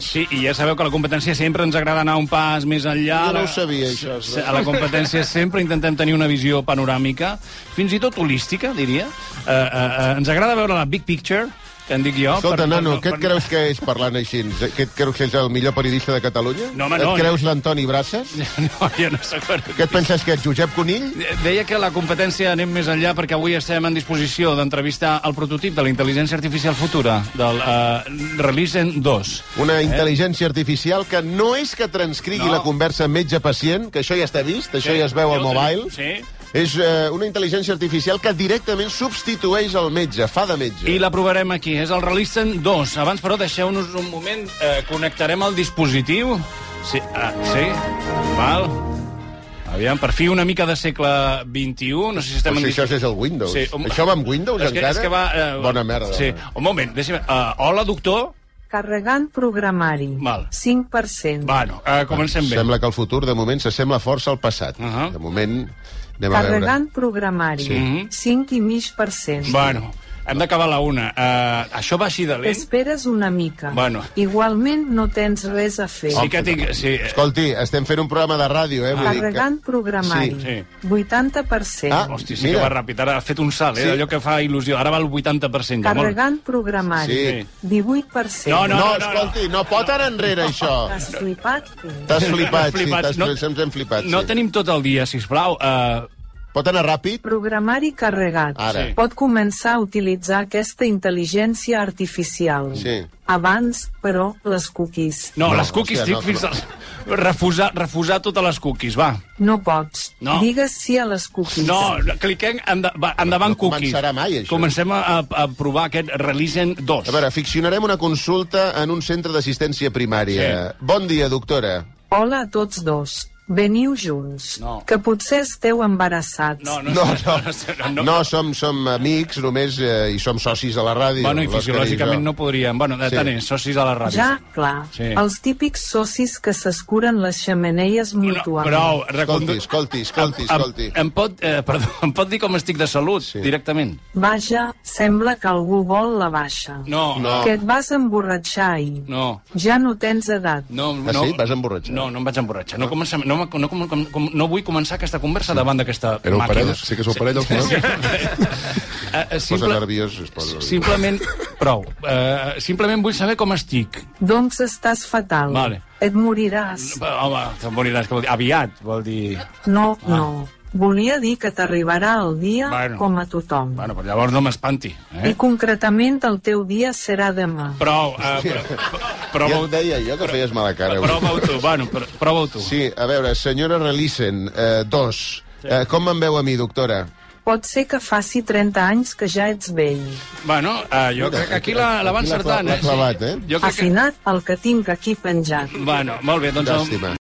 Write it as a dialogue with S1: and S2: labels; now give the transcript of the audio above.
S1: Sí, i ja sabeu que a la competència sempre ens agrada anar un pas més enllà.
S2: Jo no
S1: La-
S2: ho sabia, això.
S1: Sí, A la competència sempre intentem tenir una visió panoràmica, fins i tot holística, diria. Eh, eh, eh, ens agrada veure la big picture, que en dic jo.
S2: Escolta,
S1: per- per-
S2: nano, què et
S1: per-
S2: creus que és parlant així? Què et creus que és el millor periodista de Catalunya?
S1: No, home,
S2: et
S1: no.
S2: creus l'Antoni Braces?
S1: No, jo no sóc periodista.
S2: Què et penses que ets Josep Conill?
S1: Deia que la competència anem més enllà perquè avui estem en disposició d'entrevistar el prototip de la intel·ligència artificial futura, del uh, Releasen 2.
S2: Una intel·ligència artificial que no és que transcrigui
S1: Eh? No.
S2: la conversa metge-pacient, que això ja està vist, això
S1: Sí,
S2: ja es veu
S1: ja
S2: al
S1: ho tenim,
S2: mobile.
S1: sí.
S2: És eh, una intel·ligència artificial que directament substitueix el metge, fa de metge.
S1: I la provarem aquí, és el Releasen 2. Abans, però, deixeu-nos un moment, eh, connectarem el dispositiu. Sí, ah, sí? Val. Aviam, per fi una mica de segle XXI, no sé si estem
S2: Però
S1: en...
S2: si
S1: dis-
S2: això és el Windows.
S1: Sí, home.
S2: Això va amb Windows,
S1: és que,
S2: encara?
S1: És que va, eh,
S2: Bona merda.
S1: Sí.
S2: home.
S1: Un moment, deixa'm... Uh, hola, doctor.
S3: Carregant programari.
S1: Val.
S3: 5%.
S1: Bueno, uh, comencem bé.
S2: Sembla que el futur, de moment, s'assembla força al passat.
S1: Ahà.
S2: De moment, anem a veure.
S3: Carregant programari.
S2: Sí.
S3: Sí. 5,5%.
S1: Bueno, hem d'acabar a la una. Uh, això va així de lent?
S3: T'esperes una mica.
S1: Bueno.
S3: Igualment no tens res a fer.
S1: Sí que tinc... Sí, eh,
S2: Escolti, estem fent un programa de ràdio, eh? vull dir que-
S3: Carregant programari.
S1: Sí,
S3: 80%.
S2: Ah,
S1: Hòstia, sí
S2: Mira.
S1: que va ràpid. Ara ha fet un salt, eh?
S2: Sí.
S1: Allò que fa il·lusió. Ara va al 80%. ja, molt.
S3: Carregant programari.
S2: Sí.
S3: 18%.
S1: No,
S2: No,
S1: no,
S2: no, escolti, no pot anar enrere, això.
S3: T'has flipat? tu?
S2: T'has flipat,
S1: T'has
S2: sí,
S1: flipat.
S2: t'has
S1: No-
S2: flipat, ens hem flipat.
S1: No
S2: sí.
S1: tenim tot el dia, sisplau. Uh,
S2: Pot anar ràpid?
S3: Programari carregat.
S2: Ara. Sí.
S3: Pot començar a utilitzar aquesta intel·ligència artificial.
S2: Sí.
S3: Abans, però, les cookies.
S1: no,
S2: No,
S1: les cookies
S2: hòstia,
S1: hòstia,
S2: no,
S1: tinc fins al... Refusar, refusar totes les cookies, va.
S3: No pots.
S1: No.
S3: Digues sí a les cookies.
S1: No, cliquem enda, va, endavant
S2: No
S1: cookies.
S2: començarà mai, això.
S1: Comencem a, a, a provar aquest Releasen 2.
S2: A veure, ficcionarem una consulta en un centre d'assistència primària. Bon dia, doctora.
S3: Hola a tots dos. Veniu junts.
S1: No.
S3: Que potser esteu embarassats.
S1: No, no,
S2: No, no,
S1: no,
S2: no, som, som amics només eh, i som socis de la ràdio.
S1: Bueno, i
S2: l'Òscar
S1: fisiològicament
S2: jo.
S1: no podríem. Bueno, de
S2: Sí.
S1: tant és, socis a la ràdio.
S3: Ja, clar.
S1: Sí.
S3: Els típics socis que s'escuren les xemeneies
S1: No,
S3: mútuament.
S1: prou,
S2: Escolti,
S1: recondu...
S2: escolti, escolti, escolti.
S1: Em, em, pot, eh, perdó, em pot dir com estic de salut, sí. directament?
S3: Vaja, sembla que algú vol la baixa.
S1: No,
S2: No.
S3: Que et vas emborratxar ahir.
S1: no.
S3: Ja no tens edat.
S1: No,
S2: Ah,
S1: no,
S2: sí? Vas emborratxar?
S1: No, no em vaig emborratxar. No, comencem, no, no, com, com, com, no vull començar aquesta conversa davant d'aquesta
S4: Era un
S1: màquina.
S4: parell, sí que és un parell al final.
S1: Eh, eh,
S2: Es posa nerviós, es posa nerviós.
S1: Simplement, prou. Eh, simplement vull saber com estic.
S3: Doncs estàs fatal.
S1: Vale.
S3: Et moriràs.
S1: Home, te'n moriràs, que vol dir? Aviat, vol dir...
S3: No, no. Volia dir que t'arribarà el dia
S1: Ah. Bueno.
S3: com a tothom.
S1: Bueno, però llavors no m'espanti,
S3: I
S1: eh?
S3: concretament el teu dia serà demà.
S1: Prou, eh, prou,
S2: Ja
S1: prou,
S2: et deia jo que feies mala cara. avui.
S1: prova-ho tu, bueno, pr- prova-ho tu.
S2: Sí, a veure, senyora Relissen, eh, dos. Eh, com em veu a mi, doctora?
S3: Pot ser que faci 30 anys que ja ets vell.
S1: Bueno, eh, jo crec que aquí la, la van
S2: aquí la cla-
S1: encertant,
S2: l'ha
S1: eh?
S3: Ah,
S2: clavat,
S1: sí.
S2: eh?
S1: Jo crec que...
S3: Afinat el que tinc aquí penjat.
S1: Bueno, molt bé, doncs...
S2: Llàstima.